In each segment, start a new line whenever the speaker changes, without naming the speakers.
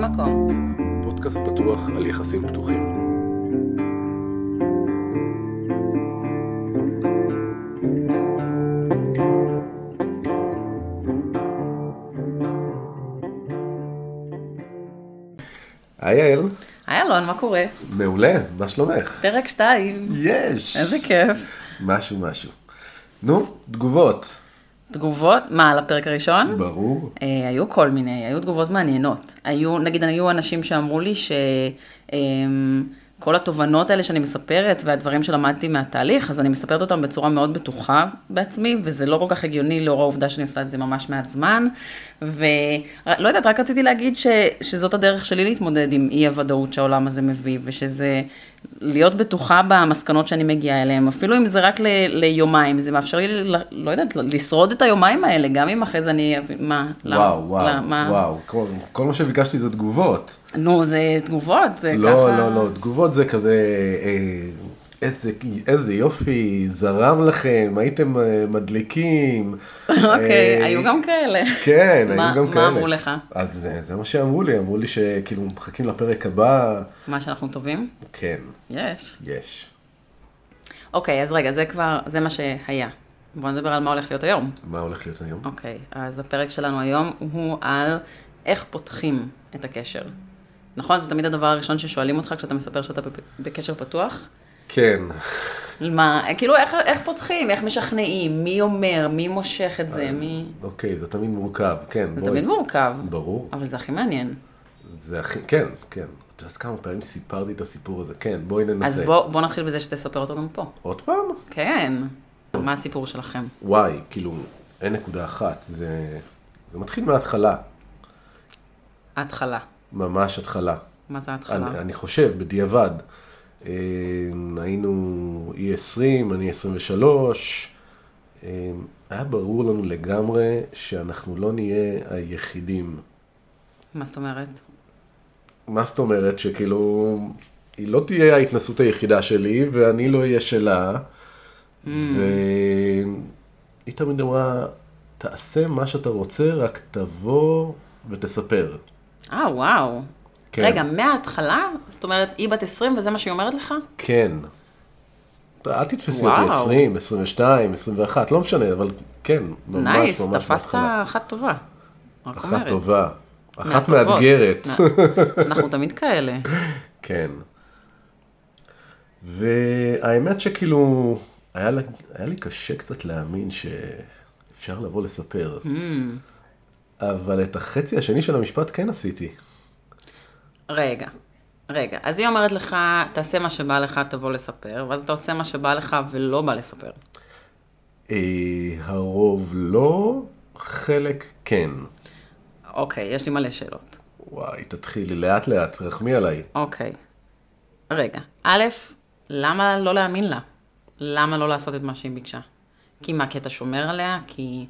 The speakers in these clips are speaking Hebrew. מקום.
פודקאסט פתוח על יחסים פתוחים. היי יעל,
היי אלון, מה קורה?
מעולה, מה שלומך?
פרק 2.
יש!
איזה כיף.
משהו משהו. נו, תגובות.
תגובות, מה, על הפרק הראשון?
ברור.
אה, היו כל מיני, היו תגובות מעניינות. היו, נגיד, היו אנשים שאמרו לי שכל התובנות האלה שאני מספרת והדברים שלמדתי מהתהליך, אז אני מספרת אותם בצורה מאוד בטוחה בעצמי, וזה לא כל כך הגיוני לאור העובדה שאני עושה את זה ממש מעט זמן. ולא יודעת, רק רציתי להגיד ש, שזאת הדרך שלי להתמודד עם אי-הוודאות שהעולם הזה מביא, ושזה להיות בטוחה במסקנות שאני מגיעה אליהן, אפילו אם זה רק ל, ליומיים, זה מאפשר לי, ל- לא יודעת, לשרוד את היומיים האלה, גם אם אחרי זה אני... אבין- מה? למה?
וואו, וואו,
למה?
וואו. כל- כל מה שביקשתי זה תגובות.
נו, זה תגובות, זה
לא,
ככה...
לא, לא, תגובות זה כזה, אה, איזה, איזה יופי, זרם לכם, הייתם אה, מדליקים.
אוקיי,
אה,
היו גם כאלה.
כן, היו
מה-
גם כאלה.
מה אמרו לך?
אז זה, זה מה שאמרו לי, אמרו לי שכאילו מחכים לפרק הבא,
מה שאנחנו טובים?
כן,
יש.
יש.
אוקיי, אז רגע, זה כבר, זה מה שהיה. בואו נדבר על מה הולך להיות היום.
מה הולך להיות היום?
אוקיי, אז הפרק שלנו היום הוא על איך פותחים את הקשר. נכון? זה תמיד הדבר הראשון ששואלים אותך כשאתה מספר שאתה בפ- בקשר פתוח.
כן,
מה, כאילו איך, איך פותחים, איך משכנעים, מי אומר, מי מושך את זה, מי...
אוקיי, זה תמיד מורכב, כן,
זה
בואי.
תמיד מורכב,
ברור,
אבל זה הכי מעניין.
זה הכי, כן, כן. את יודעת כמה פעמים סיפרתי את הסיפור הזה, כן, בואי ננסה.
אז בוא, בוא נתחיל בזה שתספר אותו גם פה.
עוד פעם?
כן. מה הסיפור שלכם?
וואי, כאילו, אין נקודה אחת, זה, זה מתחיל מההתחלה,
ההתחלה.
ממש התחלה.
מה זה ההתחלה?
אני, אני חושב, בדיעבד, אה, היינו אי 20, אני E 23, אה, היה ברור לנו לגמרי שאנחנו לא נהיה היחידים.
מה זאת אומרת?
מה זאת אומרת? שכאילו, היא לא תהיה ההתנסות היחידה שלי, ואני לא אהיה שלה.
Mm.
והיא תמיד אמרה, תעשה מה שאתה רוצה, רק תבוא ותספר.
אה, וואו.
כן.
רגע, מההתחלה? זאת אומרת, היא בת 20 וזה מה שהיא אומרת לך?
כן. אתה- אל תתפסי
וואו.
אותי 20, 22, 21, לא משנה, אבל כן, ממש
נייס,
ממש
תפסת
בהתחלה.
אחת טובה. רק
אחת
אומרת.
טובה, אחת
מהטובות.
מאתגרת.
מה- אנחנו תמיד כאלה.
כן. והאמת שכאילו, היה, לה- היה לי קשה קצת להאמין שאפשר לבוא לספר. אבל את החצי השני של המשפט כן עשיתי.
רגע, רגע. אז היא אומרת לך, תעשה מה שבא לך, תבוא לספר, ואז אתה עושה מה שבא לך ולא בא לספר.
אה, הרוב לא, חלק כן.
אוקיי, יש לי מלא שאלות.
וואי, תתחילי לאט לאט, רחמי עליי.
אוקיי. רגע, א', למה לא להאמין לה? למה לא לעשות את מה שהיא ביקשה? כי מה, כי אתה שומר עליה? כי,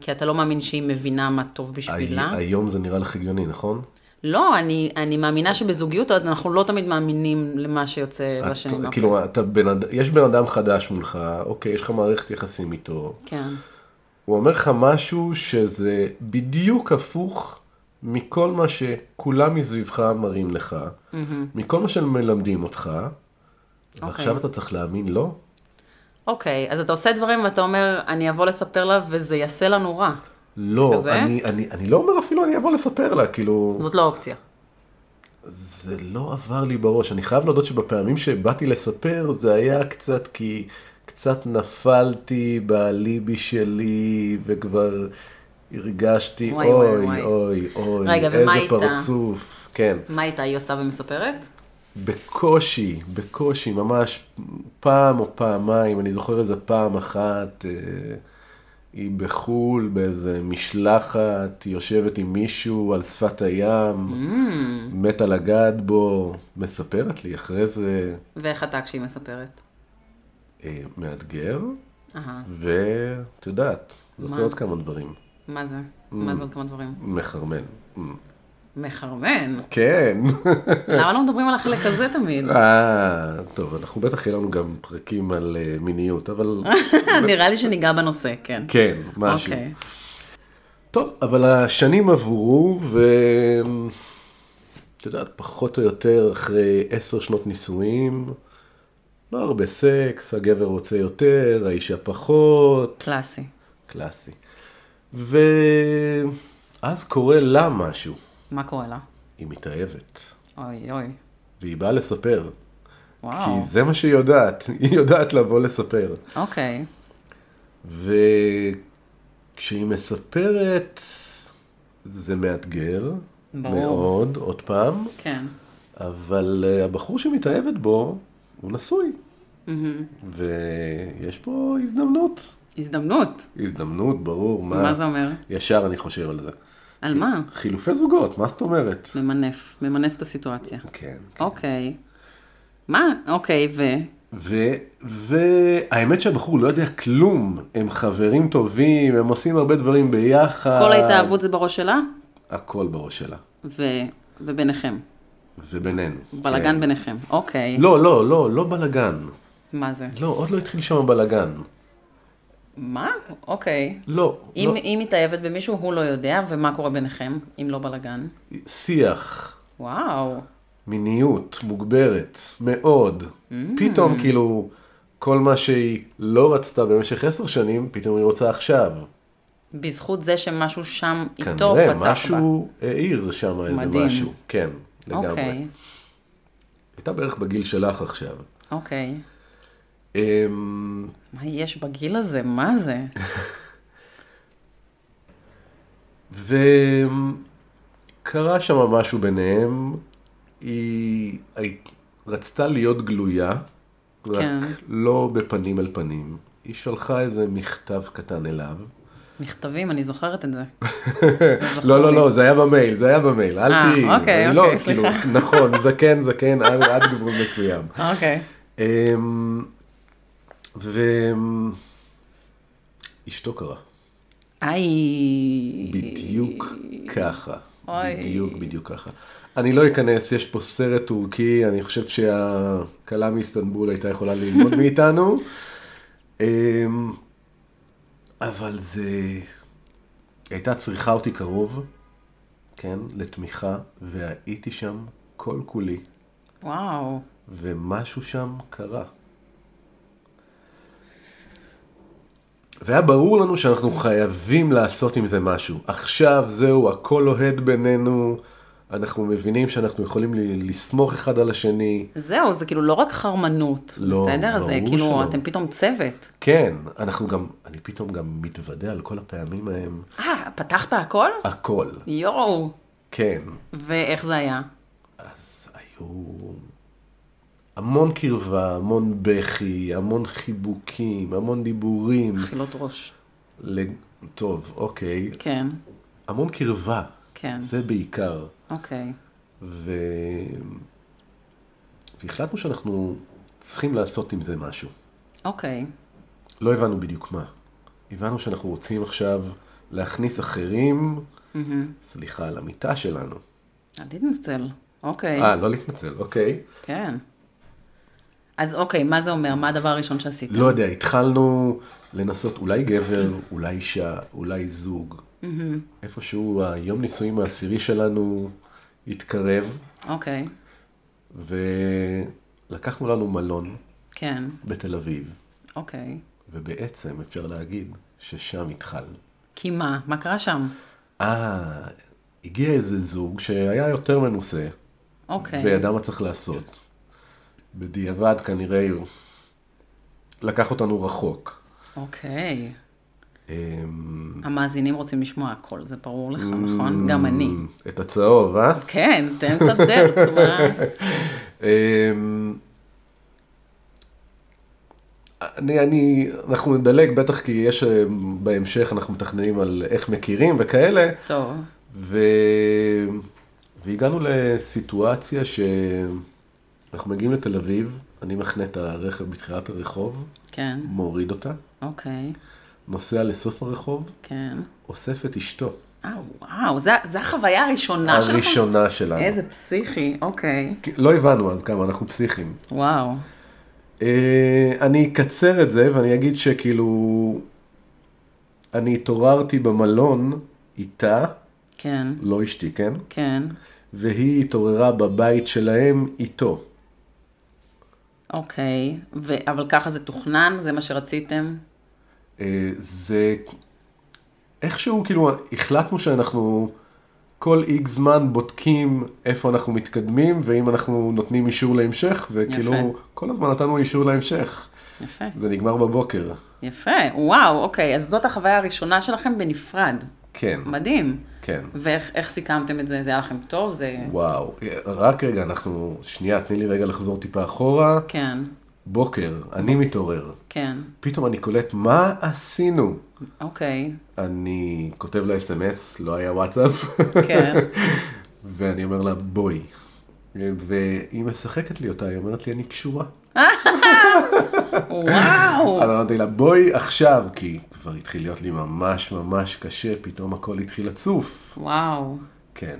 כי אתה לא מאמין שהיא מבינה מה טוב בשבילה?
הי- היום זה נראה לך הגיוני, נכון?
לא, אני, אני מאמינה שבזוגיות אנחנו לא תמיד מאמינים למה שיוצא אוקיי.
את-
בשנים האחרונות.
כאילו, אתה בן אד- יש בן אדם חדש מולך, אוקיי, יש לך מערכת יחסים איתו,
כן.
הוא אומר לך משהו שזה בדיוק הפוך מכל מה שכולם מסביבך מראים לך, מכל מה שמלמדים אותך, ועכשיו אתה צריך להאמין לא? לו?
אוקיי, אז אתה עושה דברים ואתה אומר, אני אבוא לספר לה וזה יעשה לנו רע.
לא,
כזה?
אני, אני, אני לא אומר אפילו אני אבוא לספר לה, כאילו,
זאת לא אופציה.
זה לא עבר לי בראש. אני חייב להודות שבפעמים שבאתי לספר, זה היה קצת כי קצת נפלתי באליבי שלי, וכבר הרגשתי,
וואי, וואי,
אוי,
וואי.
אוי, אוי,
רגע,
איזה
ומה הייתה?
פרצוף. כן.
מה איתה, היא עושה ומספרת?
בקושי, בקושי, ממש פעם או פעמיים, אני זוכר איזה פעם אחת, אה, היא בחו"ל, באיזה משלחת, היא יושבת עם מישהו על שפת הים, מתה לגעת בו, מספרת לי אחרי זה,
ואיך אתה כשהיא מספרת?
אה, מאתגר,
אהה,
ואת יודעת, זה עושה
מה?
עוד כמה דברים,
מה זה?
Mm.
מה זה עוד כמה דברים?
מחרמן. מ.
מחרמן.
כן.
למה לא מדברים על החלק הזה תמיד?
אה, טוב, אנחנו בטח יהיה לנו גם פרקים על אה, מיניות, אבל
נראה לי שניגע בנושא, כן.
אה, כן, משהו.
אוקיי.
טוב, אבל השנים עברו, את יודעת, פחות או יותר אחרי עשר שנות נישואים, לא הרבה סקס, הגבר רוצה יותר, האישה פחות,
קלאסי.
קלאסי. ואז קורה לה משהו,
מה קורה לה?
היא מתאהבת,
אוי אוי.
והיא באה לספר,
וואו.
כי זה מה שהיא יודעת, היא יודעת לבוא לספר.
אוקיי.
וכשהיא מספרת, זה מאתגר,
ברור.
מאוד, עוד פעם,
כן.
אבל אה, הבחור שמתאהבת בו, הוא נשוי.
Mm-hmm.
ויש פה הזדמנות.
הזדמנות.
הזדמנות, ברור, מה...
מה זה אומר?
ישר אני חושב על זה.
על מה?
חילופי זוגות, מה זאת אומרת?
ממנף. ממנף את הסיטואציה.
כן.
אוקיי. מה? אוקיי, ו...
ו... והאמת שהבחור לא יודע כלום, הם חברים טובים, הם עושים הרבה דברים ביחד.
כל ההתאהבות זה בראש שלה,
הכל בראש שלה.
ו... וביניכם.
ובינינו.
בלאגן ביניכם. אוקיי.
כן. לא, לא, לא, לא בלאגן.
מה זה?
לא, עוד לא התחיל שם הבלאגן.
מה? אוקיי.
לא,
אם
לא.
היא מתאהבת במישהו, הוא לא יודע, ומה קורה ביניכם, אם לא בלאגן?
שיח.
וואו.
מיניות מוגברת, מאוד.
Mm.
פתאום כאילו, כל מה שהיא לא רצתה במשך עשר שנים, פתאום היא רוצה עכשיו.
בזכות זה שמשהו שם איתו פתח בה.
כנראה משהו העיר שם איזה
מדהים.
משהו. כן, לגמרי.
אוקיי,
הייתה בערך בגיל שלך עכשיו.
אוקיי.
אמ,
מה יש בגיל הזה? מה זה?
וקרה שם משהו ביניהם, היא היית- רצתה להיות גלויה, רק
כן.
לא בפנים אל פנים. היא שלחה איזה מכתב קטן אליו.
מכתבים, אני זוכרת את זה. זכור
לא, לא,
לי.
לא, זה היה במייל, זה היה במייל, אל
נכון. אה,
תהיי.
אוקיי,
לא,
אוקיי,
כאילו,
סליחה.
נכון, זקן, זקן, עד עד גבול מסוים. אמ,
אוקיי.
ואשתו קרה,
איי.
בדיוק ככה.
אוי.
בדיוק, בדיוק ככה. אני לא אכנס, יש פה סרט טורקי, אני חושב שהכלה מאיסטנבול הייתה יכולה ללמוד מאיתנו. אמ, אבל זה... היא הייתה צריכה אותי קרוב, כן, לתמיכה, והייתי שם כל כולי,
וואו.
ומשהו שם קרה. והיה ברור לנו שאנחנו חייבים לעשות עם זה משהו. עכשיו זהו, הכל אוהד בינינו, אנחנו מבינים שאנחנו יכולים ל- לסמוך אחד על השני.
זהו, זה כאילו לא רק חרמנות,
לא,
בסדר? זה
ברור
כאילו,
שלא.
אתם פתאום צוות.
כן, אנחנו גם, אני פתאום גם מתוודה על כל הפעמים ההם,
אה, פתחת הכל?
הכל,
יואו.
כן.
ואיך זה היה?
אז היו המון קרבה, המון בכי, המון חיבוקים, המון דיבורים.
אכילות ראש.
לג... טוב, אוקיי.
כן,
המון קרבה.
כן.
זה בעיקר.
אוקיי.
ו... והחלטנו שאנחנו צריכים לעשות עם זה משהו.
אוקיי.
לא הבנו בדיוק מה. הבנו שאנחנו רוצים עכשיו להכניס אחרים, סליחה, על המיטה שלנו.
אל תתנצל. אוקיי.
אה, לא להתנצל, אוקיי.
כן. אז אוקיי, מה זה אומר? מה הדבר הראשון שעשית?
לא יודע, התחלנו לנסות אולי גבר, אולי אישה, אולי זוג. איפשהו היום נישואים העשירי שלנו התקרב,
אוקיי,
ולקחנו לנו מלון
כן,
בתל אביב,
אוקיי.
ובעצם אפשר להגיד ששם התחלנו.
כי מה? מה קרה שם?
אה, הגיע איזה זוג שהיה יותר מנוסה,
אוקיי.
וידע מה צריך לעשות. בדיעבד כנראה הוא לקח אותנו רחוק.
אוקיי.
אמ,
המאזינים רוצים לשמוע הכל, זה ברור לך,
Mm.
נכון? גם אני.
את הצהוב, אה?
כן, תן קצת דלת, מה?
אמ, אני, אני, אנחנו נדלג בטח כי יש אמ, בהמשך, אנחנו מתכננים על איך מכירים וכאלה,
טוב,
ו... והגענו לסיטואציה שאנחנו מגיעים לתל אביב, אני מחנה את הרכב בתחילת הרחוב,
כן,
מוריד אותה,
אוקיי,
נוסע לסוף הרחוב,
כן.
אוסף את אשתו,
אה, וואו, זה- זה החוויה הראשונה שלך?
הראשונה שלנו.
איזה פסיכי, אוקיי.
כי לא הבנו אז כמה, אנחנו פסיכים.
וואו,
אה, אני אקצר את זה ואני אגיד שכאילו, אני התעוררתי במלון איתה,
כן,
לא אשתי, כן?
כן,
והיא התעוררה בבית שלהם איתו.
אוקיי, ו- אבל ככה זה תוכנן? זה מה שרציתם?
אה, זה איכשהו כאילו החלטנו שאנחנו כל איקס זמן בודקים איפה אנחנו מתקדמים ואם אנחנו נותנים אישור להמשך וכאילו
יפה.
כל הזמן נתנו אישור להמשך.
יפה.
זה נגמר בבוקר.
יפה, וואו, אוקיי, אז זאת החוויה הראשונה שלכם בנפרד.
כן,
מדהים.
כן.
ואיך איך סיכמתם את זה? זה היה לכם טוב? זה...
וואו, רק רגע, אנחנו, שנייה, תני לי רגע לחזור טיפה אחורה.
כן,
בוקר, אני מתעורר.
כן,
פתאום אני קולט, מה עשינו?
אוקיי,
אני כותב לה אס.אם.אס, לא היה וואטסאפ,
כן.
ואני אומר לה, בואי. והיא משחקת לי אותה, היא אומרת לי, אני קשורה.
וואו,
אז אמרתי לה, בואי עכשיו, כי כבר התחיל להיות לי ממש ממש קשה, פתאום הכל התחיל לצוף.
וואו,
כן.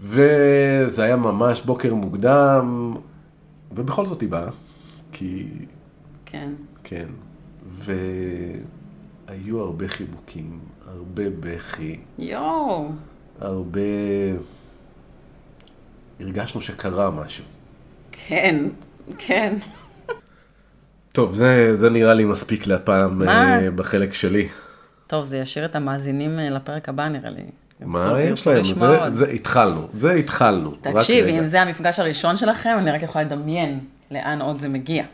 וזה היה ממש בוקר מוקדם, ובכל זאת היא באה, כי...
כן.
כן. והיו הרבה חיבוקים, הרבה בכי,
יואו,
הרבה... הרגשנו שקרה משהו.
כן, כן.
טוב, זה, זה נראה לי מספיק להפעם
מה?
אה, בחלק שלי.
טוב, זה ישאיר את המאזינים אה, לפרק הבא נראה לי. הם
מה
ירצו-
יש
ירצו
להם?
לשמוע
זה,
עוד.
זה התחלנו, זה התחלנו. רק
תקשיב,
רגע.
אם זה המפגש הראשון שלכם, אני רק יכולה לדמיין לאן עוד זה מגיע.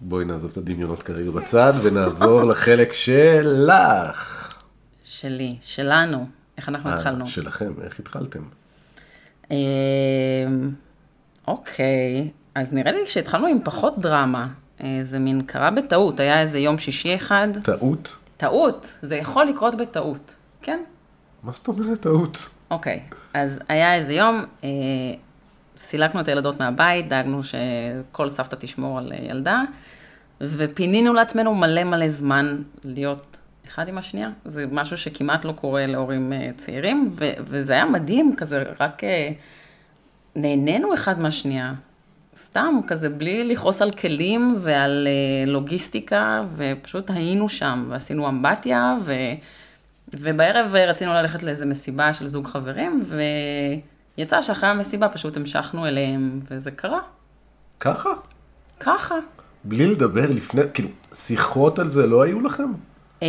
בואי נעזוב את הדמיונות כרגע בצד ונעבור לחלק שלך.
שלי, שלנו, איך אנחנו התחלנו.
אה, שלכם, איך התחלתם?
אמ, אוקיי, אז נראה לי שהתחלנו עם פחות דרמה. אה, זה מין קרה בטעות, היה איזה יום שישי אחד.
טעות?
טעות, זה יכול לקרות בטעות, כן?
מה זאת אומרת טעות?
אוקיי, אז היה איזה יום, אה, סילקנו את הילדות מהבית, דאגנו שכל סבתא תשמור על אה, ילדה, ופינינו לעצמנו מלא מלא זמן להיות אחד עם השנייה. זה משהו שכמעט לא קורה להורים אה, צעירים, ו- וזה היה מדהים, כזה רק אה, נהנינו אחד מהשנייה. סתם, כזה בלי לכעוס על כלים ועל אה, לוגיסטיקה, ופשוט היינו שם, ועשינו אמבטיה, ו... ובערב אה, רצינו ללכת לאיזה מסיבה של זוג חברים, ויצא שאחרי המסיבה פשוט המשכנו אליהם, וזה קרה.
ככה?
ככה.
בלי לדבר לפני, כאילו, שיחות על זה לא היו לכם?
אה,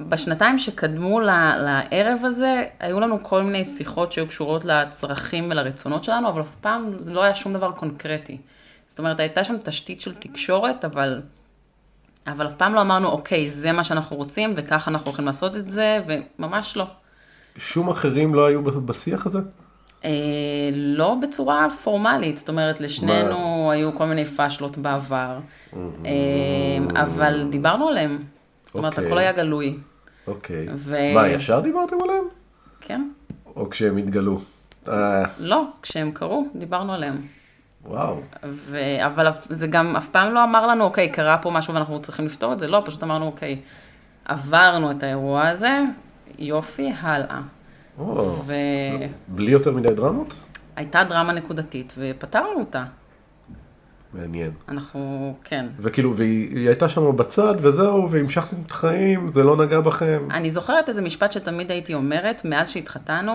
בשנתיים שקדמו ל- לערב הזה, היו לנו כל מיני שיחות שהיו קשורות לצרכים ולרצונות שלנו, אבל אף פעם זה לא היה שום דבר קונקרטי. זאת אומרת, הייתה שם תשתית של תקשורת, אבל, אבל אף פעם לא אמרנו, אוקיי, זה מה שאנחנו רוצים, וככה אנחנו הולכים לעשות את זה, וממש לא.
שום אחרים לא היו ב- בשיח הזה?
אה, לא בצורה פורמלית, זאת אומרת, לשנינו היו כל מיני פאשלות בעבר, אה, אבל דיברנו עליהם. זאת אומרת,
אוקיי.
הכל היה גלוי,
אוקיי.
ו-
מה, ישר דיברתם עליהם?
כן?
או כשהם התגלו? אה,
לא, כשהם קרו, דיברנו עליהם.
וואו.
ו... אבל אף- זה גם אף פעם לא אמר לנו, אוקיי, קרה פה משהו ואנחנו צריכים לפתור את זה, לא, פשוט אמרנו, אוקיי, עברנו את האירוע הזה, יופי, הלאה.
או,
והייתה
בלי יותר מדי דרמות?
דרמה נקודתית, ופתרנו אותה.
מעניין.
אנחנו, כן,
וכאילו, והיא היא הייתה שם בצד, וזהו, והמשכתם את החיים, זה לא נגע בכם.
אני זוכרת איזה משפט שתמיד הייתי אומרת, מאז שהתחתנו,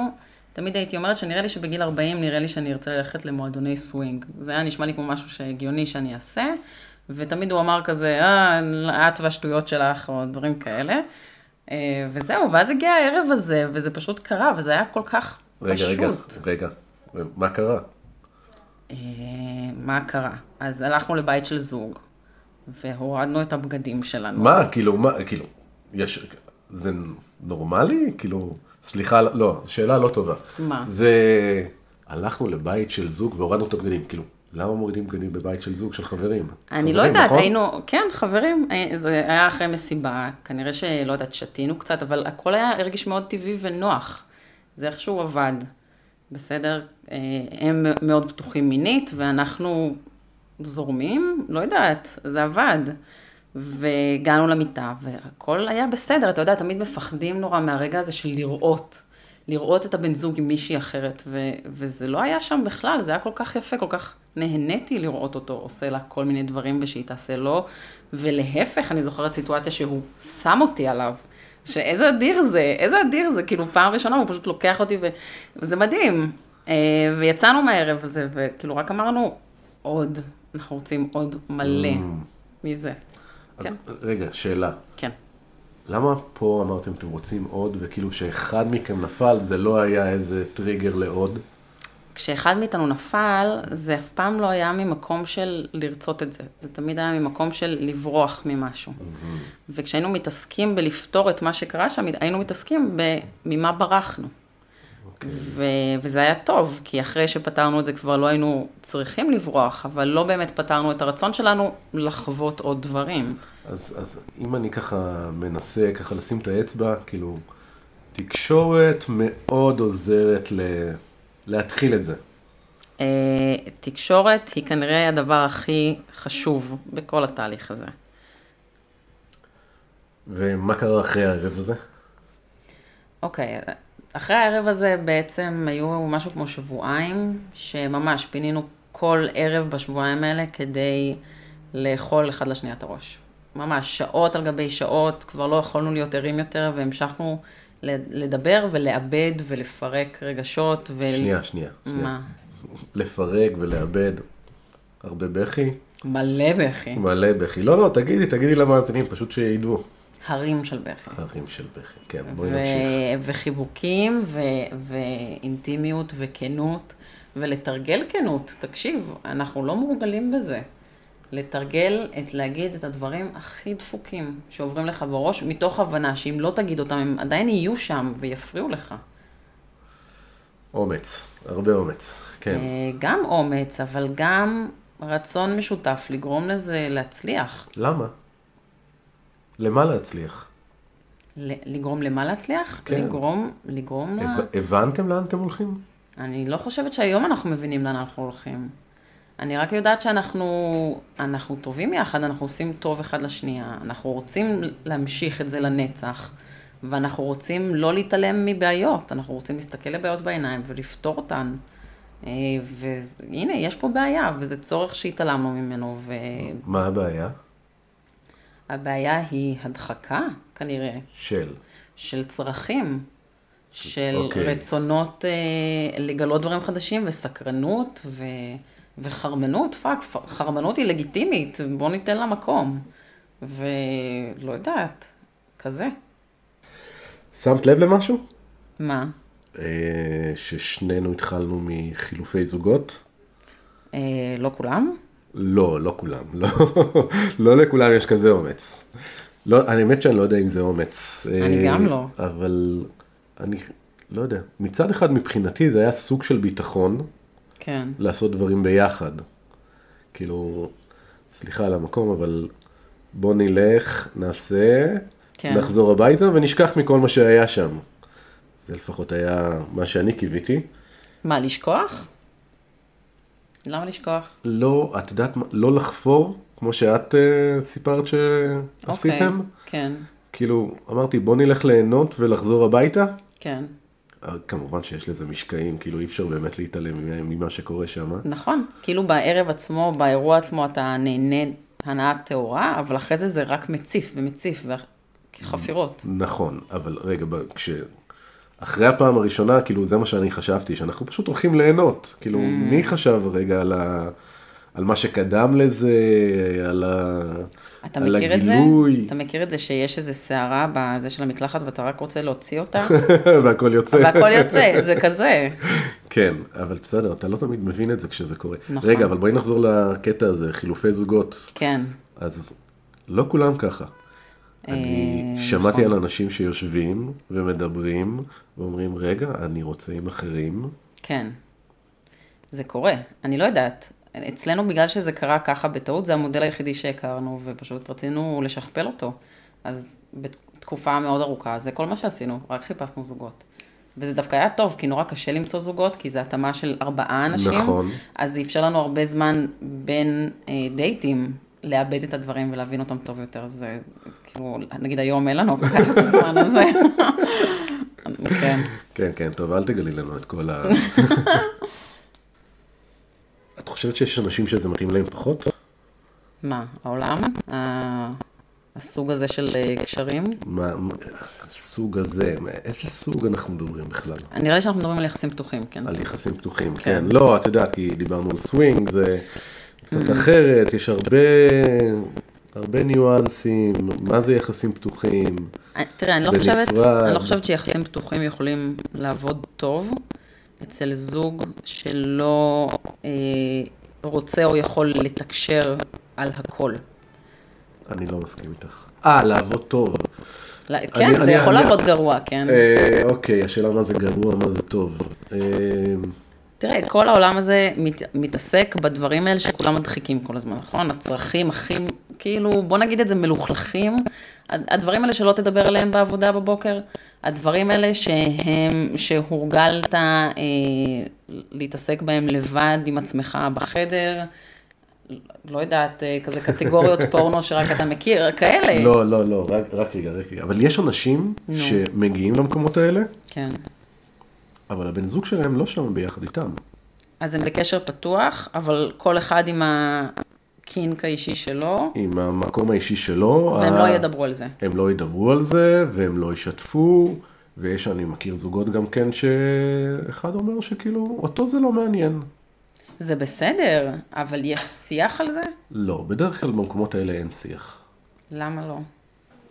תמיד הייתי אומרת שנראה לי שבגיל 40 נראה לי שאני ארצה ללכת למועדוני סווינג. זה היה נשמע לי כמו משהו שהגיוני שאני אעשה, ותמיד הוא אמר כזה, אה, את והשטויות שלך, או דברים כאלה. אה, וזהו, ואז הגיע הערב הזה, וזה פשוט קרה, וזה היה כל כך
רגע,
פשוט.
רגע, רגע, מה קרה?
אה, מה קרה? אז הלכנו לבית של זוג, והורדנו את הבגדים שלנו.
מה, כאילו, מה, כאילו, יש, זה נורמלי? כאילו, סליחה, לא, שאלה לא טובה.
מה?
זה, הלכנו לבית של זוג והורדנו את הבגדים, כאילו, למה מורידים בגדים בבית של זוג, של חברים?
אני לא
חברים,
יודעת,
נכון?
היינו, כן, חברים, אה, זה היה אחרי מסיבה, כנראה שלא יודעת, שתינו קצת, אבל הכל היה, הרגיש מאוד טבעי ונוח. זה איכשהו עבד, בסדר? אה, הם מאוד פתוחים מינית, ואנחנו זורמים, לא יודעת, זה עבד. והגענו למיטה, והכל היה בסדר, אתה יודע, תמיד מפחדים נורא מהרגע הזה של לראות. לראות את הבן זוג עם מישהי אחרת, ו- וזה לא היה שם בכלל, זה היה כל כך יפה, כל כך נהניתי לראות אותו עושה לה כל מיני דברים ושהיא תעשה לו, ולהפך, אני זוכרת סיטואציה שהוא שם אותי עליו, שאיזה אדיר זה, איזה אדיר זה, כאילו פעם ראשונה הוא פשוט לוקח אותי ו... וזה מדהים. אה, ויצאנו מהערב הזה, וכאילו רק אמרנו, עוד, אנחנו רוצים עוד מלא מזה.
אז
כן.
רגע, שאלה.
כן.
למה פה אמרתם אתם רוצים עוד, וכאילו שאחד מכם נפל, זה לא היה איזה טריגר לעוד?
כשאחד מאיתנו נפל, זה אף פעם לא היה ממקום של לרצות את זה. זה תמיד היה ממקום של לברוח ממשהו. וכשהיינו מתעסקים בלפתור את מה שקרה שם, היינו מתעסקים ממה ברחנו. ו- וזה היה טוב, כי אחרי שפתרנו את זה כבר לא היינו צריכים לברוח, אבל לא באמת פתרנו את הרצון שלנו לחוות עוד דברים.
אז, אז אם אני ככה מנסה ככה לשים את האצבע, כאילו, תקשורת מאוד עוזרת ל... להתחיל את זה.
אה, תקשורת היא כנראה הדבר הכי חשוב בכל התהליך הזה.
ומה קרה אחרי הערב הזה?
אוקיי, אחרי הערב הזה בעצם היו משהו כמו שבועיים, שממש פינינו כל ערב בשבועיים האלה כדי לאכול אחד לשנייה את הראש. ממש שעות על גבי שעות, כבר לא יכולנו להיות ערים יותר, והמשכנו ל- לדבר ולעבד ולפרק רגשות. ו...
שנייה, שנייה. שנייה.
מה?
לפרק ולאבד. הרבה בכי?
מלא בכי.
מלא בכי. לא, לא, תגידי, תגידי למאזינים, פשוט שידעו.
הרים של בכי.
הרים של בכי. כן, בואי נמשיך.
ו- וחיבוקים ו- ואינטימיות וכנות, ולתרגל כנות, תקשיב, אנחנו לא מורגלים בזה. לתרגל את להגיד את הדברים הכי דפוקים שעוברים לך בראש, מתוך הבנה שאם לא תגיד אותם, הם עדיין יהיו שם ויפריעו לך.
אומץ. הרבה אומץ. כן.
אה, גם אומץ, אבל גם רצון משותף לגרום לזה להצליח.
למה? למה להצליח?
ל- לגרום למה להצליח?
כן.
לגרום, לגרום לה...
הב- הבנתם לאן אתם הולכים?
אני לא חושבת שהיום אנחנו מבינים לאן אנחנו הולכים. אני רק יודעת שאנחנו אנחנו טובים יחד, אנחנו עושים טוב אחד לשנייה, אנחנו רוצים להמשיך את זה לנצח, ואנחנו רוצים לא להתעלם מבעיות, אנחנו רוצים להסתכל לבעיות בעיניים ולפתור אותן. אה, והנה, יש פה בעיה, וזה צורך שהתעלמנו ממנו,
מה הבעיה?
והבעיה היא הדחקה, כנראה,
של.
של צרכים, של okay.
אוקיי.
רצונות אה, לגלות דברים חדשים וסקרנות ו, וחרמנות, פאק, פ- חרמנות היא לגיטימית, בוא ניתן לה מקום. ולא יודעת, כזה.
שמת לב למשהו?
מה?
אה, ששנינו התחלנו מחילופי זוגות?
אה, לא כולם?
לא, לא כולם. לא, לא לכולם יש כזה אומץ. לא, האמת שאני לא יודע אם זה אומץ.
אני
אה,
גם לא.
אבל אני לא יודע. מצד אחד מבחינתי זה היה סוג של ביטחון
כן.
לעשות דברים ביחד. כאילו, סליחה על המקום, אבל בוא נלך, נעשה,
כן.
נחזור הביתה ונשכח מכל מה שהיה שם. זה לפחות היה מה שאני קיוויתי.
מה, לשכוח? למה לשכוח?
לא, את יודעת, מה, לא לחפור, כמו שאת אה, סיפרת שעשיתם.
אוקיי, כן,
כאילו, אמרתי, בוא נלך ליהנות ולחזור הביתה.
כן.
אה, כמובן שיש לזה משקעים, כאילו אי אפשר באמת להתעלם ממה- ממה שקורה שם. אה?
נכון, כאילו בערב עצמו, באירוע עצמו, אתה נהנה הנאה טהורה, אבל אחרי זה זה רק מציף ומציף, וחפירות.
נכון, אבל רגע, ב- כש... אחרי הפעם הראשונה, כאילו, זה מה שאני חשבתי, שאנחנו פשוט הולכים ליהנות. כאילו,
Mm.
מי חשב רגע על, ה... על מה שקדם לזה, על, ה...
אתה
על
מכיר את זה?
הגילוי,
אתה מכיר את זה שיש איזה סערה בזה של המקלחת ואתה רק רוצה להוציא אותה?
והכל יוצא.
והכל יוצא, זה כזה.
כן, אבל בסדר, אתה לא תמיד מבין את זה כשזה קורה.
נכון.
רגע, אבל בואי נחזור לקטע הזה, חילופי זוגות.
כן,
אז לא כולם ככה.
אה,
אני
נכון.
שמעתי על אנשים שיושבים ומדברים ואומרים, רגע, אני רוצה עם אחרים.
כן. זה קורה, אני לא יודעת. אצלנו בגלל שזה קרה ככה בטעות, זה המודל היחידי שהכרנו, ופשוט רצינו לשכפל אותו. אז בתקופה מאוד ארוכה, זה כל מה שעשינו, רק חיפשנו זוגות. וזה דווקא היה טוב, כי נורא קשה למצוא זוגות, כי זו התאמה של ארבעה אנשים.
נכון.
אז זה אפשר לנו הרבה זמן בין אה, דייטים לאבד את הדברים ולהבין אותם טוב יותר. זה כאילו, נגיד היום אין לנו כל כך את הזמן הזה. כן.
כן, כן, טוב, אל תגלי לנו את כל ה... את חושבת שיש אנשים שזה מתאים להם פחות?
מה, העולם? ה- הסוג הזה של אה, קשרים.
מה, מה- הסוג הזה, מה- איזה סוג אנחנו מדברים בכלל?
נראה לי שאנחנו מדברים על יחסים פתוחים, כן.
על יחסים פתוחים, כן. לא, את יודעת, כי דיברנו על סווינג, זה קצת אחרת, יש הרבה, הרבה ניואנסים, מה זה יחסים פתוחים.
אני- תראה, אני לא,
בנפרד.
חושבת, אני לא חושבת שיחסים פתוחים יכולים לעבוד טוב אצל זוג שלא אה, רוצה או יכול לתקשר על הכל.
אני לא מסכים איתך. אה, לעבוד טוב.
לא, כן, זה
אני-
יכול
אני-
לעבוד גרוע, כן.
אה, אוקיי, השאלה מה זה גרוע, מה זה טוב. אה,
תראה, כל העולם הזה מת, מתעסק בדברים האלה שכולם מדחיקים כל הזמן, נכון? הצרכים הכי, כאילו, בוא נגיד את זה מלוכלכים. הד- הדברים האלה שלא תדבר עליהם בעבודה בבוקר, הדברים האלה שהם, שהורגלת אה, להתעסק בהם לבד עם עצמך בחדר, לא יודעת, אה, כזה קטגוריות פורנו שרק אתה מכיר, כאלה.
לא, לא, לא, רק, רק רגע, רק רגע. אבל יש אנשים
נו.
שמגיעים למקומות האלה,
כן.
אבל הבן זוג שלהם לא שם ביחד איתם.
אז הם בקשר פתוח, אבל כל אחד עם הקינק האישי שלו.
עם המקום האישי שלו.
והם
ה-
לא ידברו על זה.
הם לא ידברו על זה, והם לא ישתפו, ויש, אני מכיר זוגות גם כן, שאחד אומר שכאילו, אותו זה לא מעניין.
זה בסדר, אבל יש שיח על זה?
לא, בדרך כלל במקומות האלה אין שיח.
למה לא?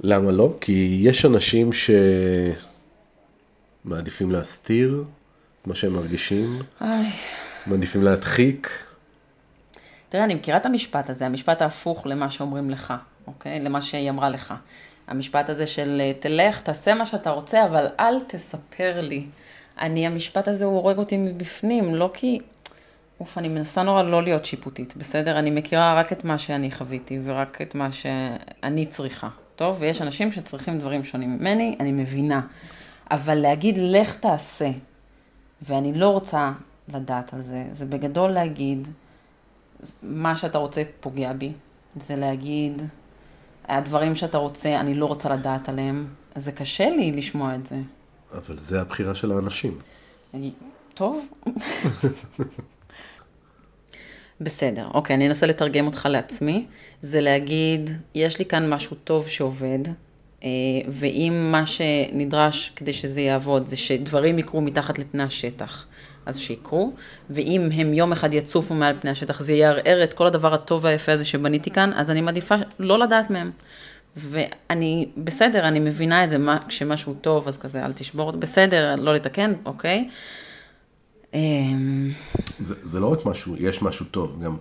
למה לא? כי יש אנשים שמעדיפים להסתיר מה שהם מרגישים,
איי.
מעדיפים להדחיק.
תראה, אני מכירה את המשפט הזה, המשפט ההפוך למה שאומרים לך, אוקיי? למה שהיא אמרה לך. המשפט הזה של אה, תלך, תעשה מה שאתה רוצה, אבל אל תספר לי. אני, המשפט הזה הוא הורג אותי מבפנים, לא כי... אוף, אני מנסה נורא לא להיות שיפוטית, בסדר? אני מכירה רק את מה שאני חוויתי ורק את מה שאני צריכה, טוב? ויש אנשים שצריכים דברים שונים ממני, אני מבינה. אבל להגיד, לך תעשה, ואני לא רוצה לדעת על זה, זה בגדול להגיד, מה שאתה רוצה פוגע בי. זה להגיד, הדברים שאתה רוצה, אני לא רוצה לדעת עליהם. זה קשה לי לשמוע את זה.
אבל זה הבחירה של האנשים.
אני- טוב. בסדר, אוקיי, אני אנסה לתרגם אותך לעצמי. זה להגיד, יש לי כאן משהו טוב שעובד, אה, ואם מה שנדרש כדי שזה יעבוד זה שדברים יקרו מתחת לפני השטח, אז שיקרו, ואם הם יום אחד יצופו מעל פני השטח, זה יערער את כל הדבר הטוב והיפה הזה שבניתי כאן, אז אני מעדיפה לא לדעת מהם. ואני, בסדר, אני מבינה את זה, מה, כשמשהו טוב, אז כזה, אל תשבור, אותו." בסדר, לא לתקן, אוקיי. אמ,
זה, זה לא רק משהו, יש משהו טוב, גם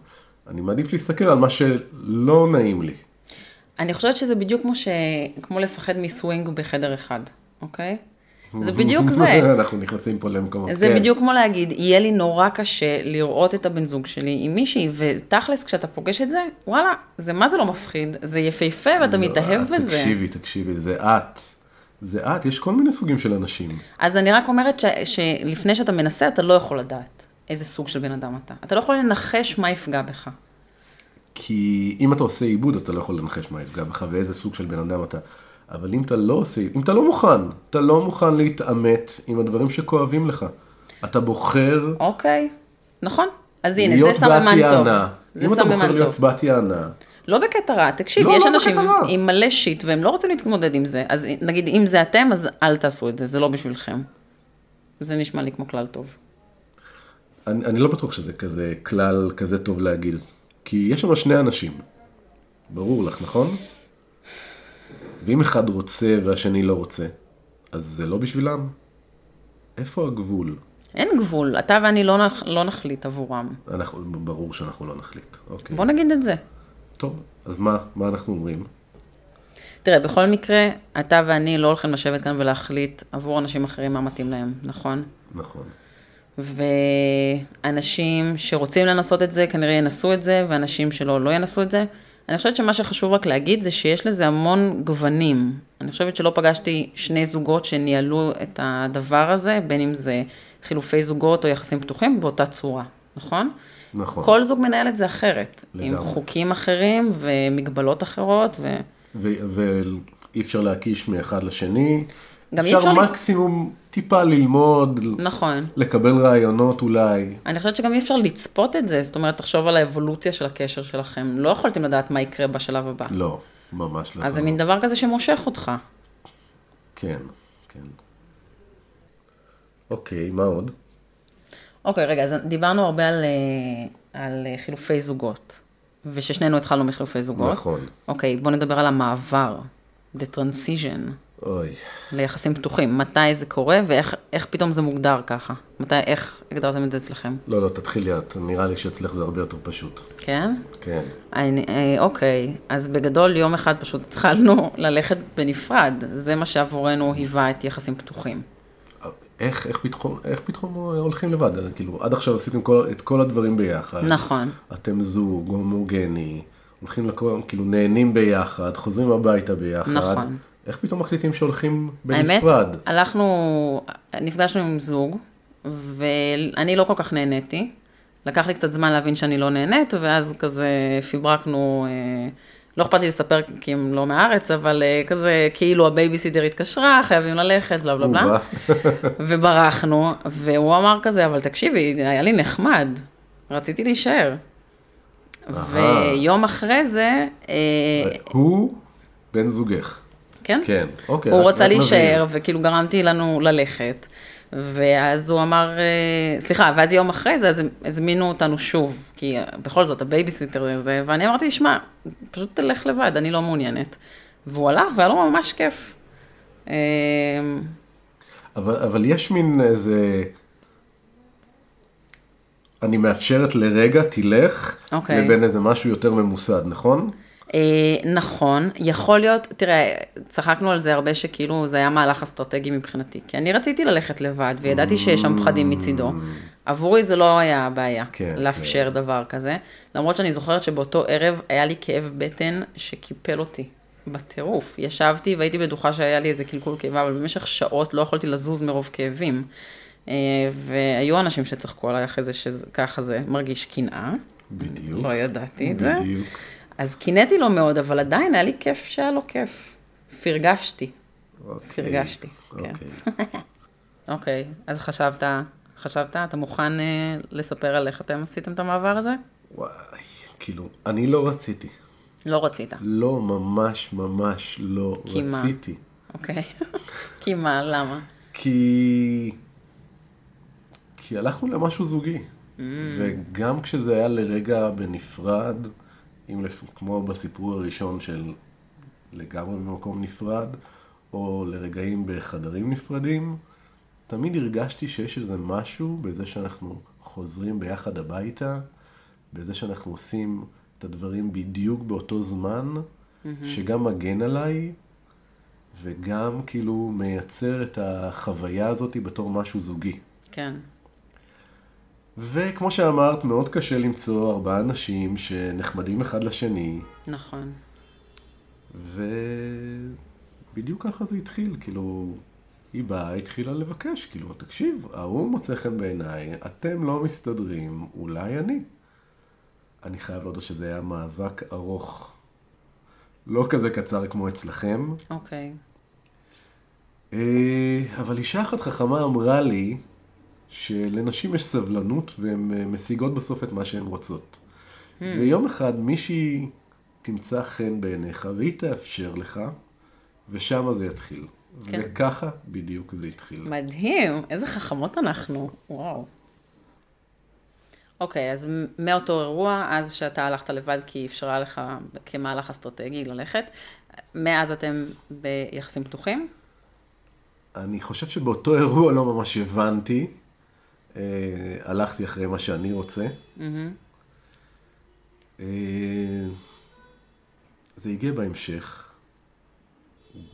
אני מעדיף להסתכל על מה שלא נעים לי.
אני חושבת שזה בדיוק כמו, ש... כמו לפחד מסווינג בחדר אחד, אוקיי? זה בדיוק זה.
אנחנו נכנסים פה למקומות.
זה
כן.
בדיוק כמו להגיד, יהיה לי נורא קשה לראות את הבן זוג שלי עם מישהי, ותכלס, כשאתה פוגש את זה, וואלה, זה מה זה לא מפחיד, זה יפהפה ואתה
לא,
מתאהב
את
בזה.
תקשיבי, תקשיבי, זה את. זה את, יש כל מיני סוגים של אנשים.
אז אני רק אומרת ש... שלפני שאתה מנסה, אתה לא יכול לדעת איזה סוג של בן אדם אתה. אתה לא יכול לנחש מה יפגע בך.
כי אם אתה עושה עיבוד, אתה לא יכול לנחש מה יפגע בך ואיזה סוג של בן אדם אתה. אבל אם אתה לא עושה, אם אתה לא מוכן, אתה לא מוכן להתעמת עם הדברים שכואבים לך. אתה בוחר
אוקיי, נכון. אז הנה, זה
להיות
סממן
בת
טוב.
יענה.
זה
אם אתה בוחר
סממן טוב.
להיות בת יענה,
לא בקטע רע, תקשיב,
לא,
יש
לא
אנשים
בקטע רע.
עם מלא שיט והם לא רוצים להתמודד עם זה, אז נגיד אם זה אתם, אז אל תעשו את זה, זה לא בשבילכם. זה נשמע לי כמו כלל טוב.
אני, אני לא בטוח שזה כזה כלל כזה טוב להגיד. כי יש שם שני אנשים. ברור לך, נכון? ואם אחד רוצה והשני לא רוצה, אז זה לא בשבילם? איפה הגבול?
אין גבול, אתה ואני לא, נח, לא נחליט עבורם.
אנחנו, ברור שאנחנו לא נחליט. אוקיי.
בוא נגיד את זה.
טוב, אז מה, מה אנחנו אומרים?
תראה, בכל מקרה, אתה ואני לא הולכים לשבת כאן ולהחליט עבור אנשים אחרים מה מתאים להם, נכון?
נכון.
ואנשים שרוצים לנסות את זה, כנראה ינסו את זה, ואנשים שלא, לא ינסו את זה. אני חושבת שמה שחשוב רק להגיד זה שיש לזה המון גוונים. אני חושבת שלא פגשתי שני זוגות שניהלו את הדבר הזה, בין אם זה חילופי זוגות או יחסים פתוחים, באותה צורה, נכון?
נכון.
כל זוג מנהל את זה אחרת. עם
לגמרי.
חוקים אחרים ומגבלות אחרות, ו...
ו- ואי אפשר להקיש מאחד לשני.
גם אי אפשר
אפשר
ל-
מקסימום טיפה ללמוד,
נכון.
לקבל רעיונות אולי.
אני חושבת שגם אי אפשר לצפות את זה, זאת אומרת, תחשוב על האבולוציה של הקשר שלכם. לא יכולתם לדעת מה יקרה בשלב הבא.
לא. ממש לא.
אז זה
קרוב.
מין דבר כזה שמושך אותך.
כן, כן. אוקיי, מה עוד?
אוקיי, רגע, אז דיברנו הרבה על, אה, על אה, חילופי זוגות, וששנינו התחלנו מחילופי זוגות.
נכון.
אוקיי, בוא נדבר על המעבר, the transition,
אוי.
ליחסים פתוחים. מתי זה קורה ואיך איך פתאום זה מוגדר ככה? מתי, איך הגדרתם את זה אצלכם?
לא, לא, תתחילי את. נראה לי שאצלך זה הרבה יותר פשוט.
כן?
כן.
אני, אה, אוקיי, אז בגדול יום אחד פשוט התחלנו ללכת בנפרד. זה מה שעבורנו היווה את יחסים פתוחים.
איך, איך פתחום, איך פתחום הולכים לבד? כאילו, עד עכשיו עשיתם כל, את כל הדברים ביחד.
נכון.
אתם זוג, הומוגני, הולכים לכל, כאילו, נהנים ביחד, חוזרים הביתה ביחד.
נכון.
איך פתאום מחליטים שהולכים
האמת,
בנפרד?
הלכנו, נפגשנו עם זוג, ואני לא כל כך נהניתי. לקח לי קצת זמן להבין שאני לא נהנית, ואז כזה פיברקנו, אה, לא אכפת לי לספר כי הם לא מהארץ, אבל אה, כזה כאילו הבייביסיטר התקשרה, חייבים ללכת, בלה בלה בלה.
הוא בא,
וברחנו, והוא אמר כזה, אבל תקשיבי, היה לי נחמד, רציתי להישאר.
אהה.
ויום אחרי זה, אה,
הוא בן זוגך.
כן?
כן, אוקיי.
הוא
רק-
רצה
רק
להישאר,
נבהיר.
וכאילו גרמתי לנו ללכת. ואז הוא אמר, אה, סליחה, ואז יום אחרי זה, אז הם הזמינו אותנו שוב, כי בכל זאת, הבייביסיטר הזה, ואני אמרתי, שמע, פשוט תלך לבד, אני לא מעוניינת. והוא הלך, והיה לו ממש כיף. אה,
אבל, אבל יש מין איזה... אני מאפשרת לרגע, תלך,
אוקיי.
לבין איזה משהו יותר ממוסד, נכון?
אה, נכון, יכול להיות, תראה, צחקנו על זה הרבה שכאילו זה היה מהלך אסטרטגי מבחינתי, כי אני רציתי ללכת לבד וידעתי שיש שם פחדים מצידו. עבורי זה לא היה הבעיה,
Mm. כן,
לאפשר דבר כזה, למרות שאני זוכרת שבאותו ערב היה לי כאב בטן שקיפל אותי. בטירוף, ישבתי והייתי בטוחה שהיה לי איזה קלקול קיבה, אבל במשך שעות לא יכולתי לזוז מרוב כאבים. אה, והיו אנשים שצחקו עליי אחרי זה, שככה זה מרגיש קנאה,
בדיוק.
לא ידעתי את זה.
בדיוק.
אז קינאתי לו מאוד, אבל עדיין היה לי כיף שהיה לו כיף. פרגשתי.
אוקיי.
פרגשתי, כן.
אוקיי.
אוקיי, אז חשבת, חשבת, אתה מוכן אה, לספר על איך אתם עשיתם את המעבר הזה?
וואי, כאילו, אני לא רציתי.
לא רצית.
לא, ממש ממש לא
כי מה?
רציתי.
אוקיי. כי מה, למה?
כי... כי הלכנו למשהו זוגי. וגם כשזה היה לרגע בנפרד, אם לפ... כמו בסיפור הראשון של לגמרי במקום נפרד, או לרגעים בחדרים נפרדים, תמיד הרגשתי שיש איזה משהו בזה שאנחנו חוזרים ביחד הביתה, בזה שאנחנו עושים את הדברים בדיוק באותו זמן, שגם מגן עליי, וגם כאילו מייצר את החוויה הזאת בתור משהו זוגי.
כן.
וכמו שאמרת, מאוד קשה למצוא ארבעה אנשים שנחמדים אחד לשני,
נכון.
ובדיוק ככה זה התחיל, כאילו, היא באה, התחילה לבקש, כאילו, תקשיב, ההוא מוצא חן בעיניי, אתם לא מסתדרים, אולי אני. אני חייב להודות שזה היה מאבק ארוך, לא כזה קצר כמו אצלכם,
אוקיי.
אה, אבל אישה אחת חכמה אמרה לי שלנשים יש סבלנות והן אה, משיגות בסוף את מה שהן רוצות. ויום אחד מישהי תמצא חן בעיניך והיא תאפשר לך, ושם זה יתחיל.
כן.
וככה בדיוק זה התחיל.
מדהים, איזה חכמות אנחנו. וואו. אוקיי, אז מ- מאותו אירוע, אז שאתה הלכת לבד כי היא אפשרה לך כמהלך אסטרטגי ללכת, מאז אתם ביחסים פתוחים?
אני חושב שבאותו אירוע לא ממש הבנתי. אה, הלכתי אחרי מה שאני רוצה. אה, זה הגיע בהמשך.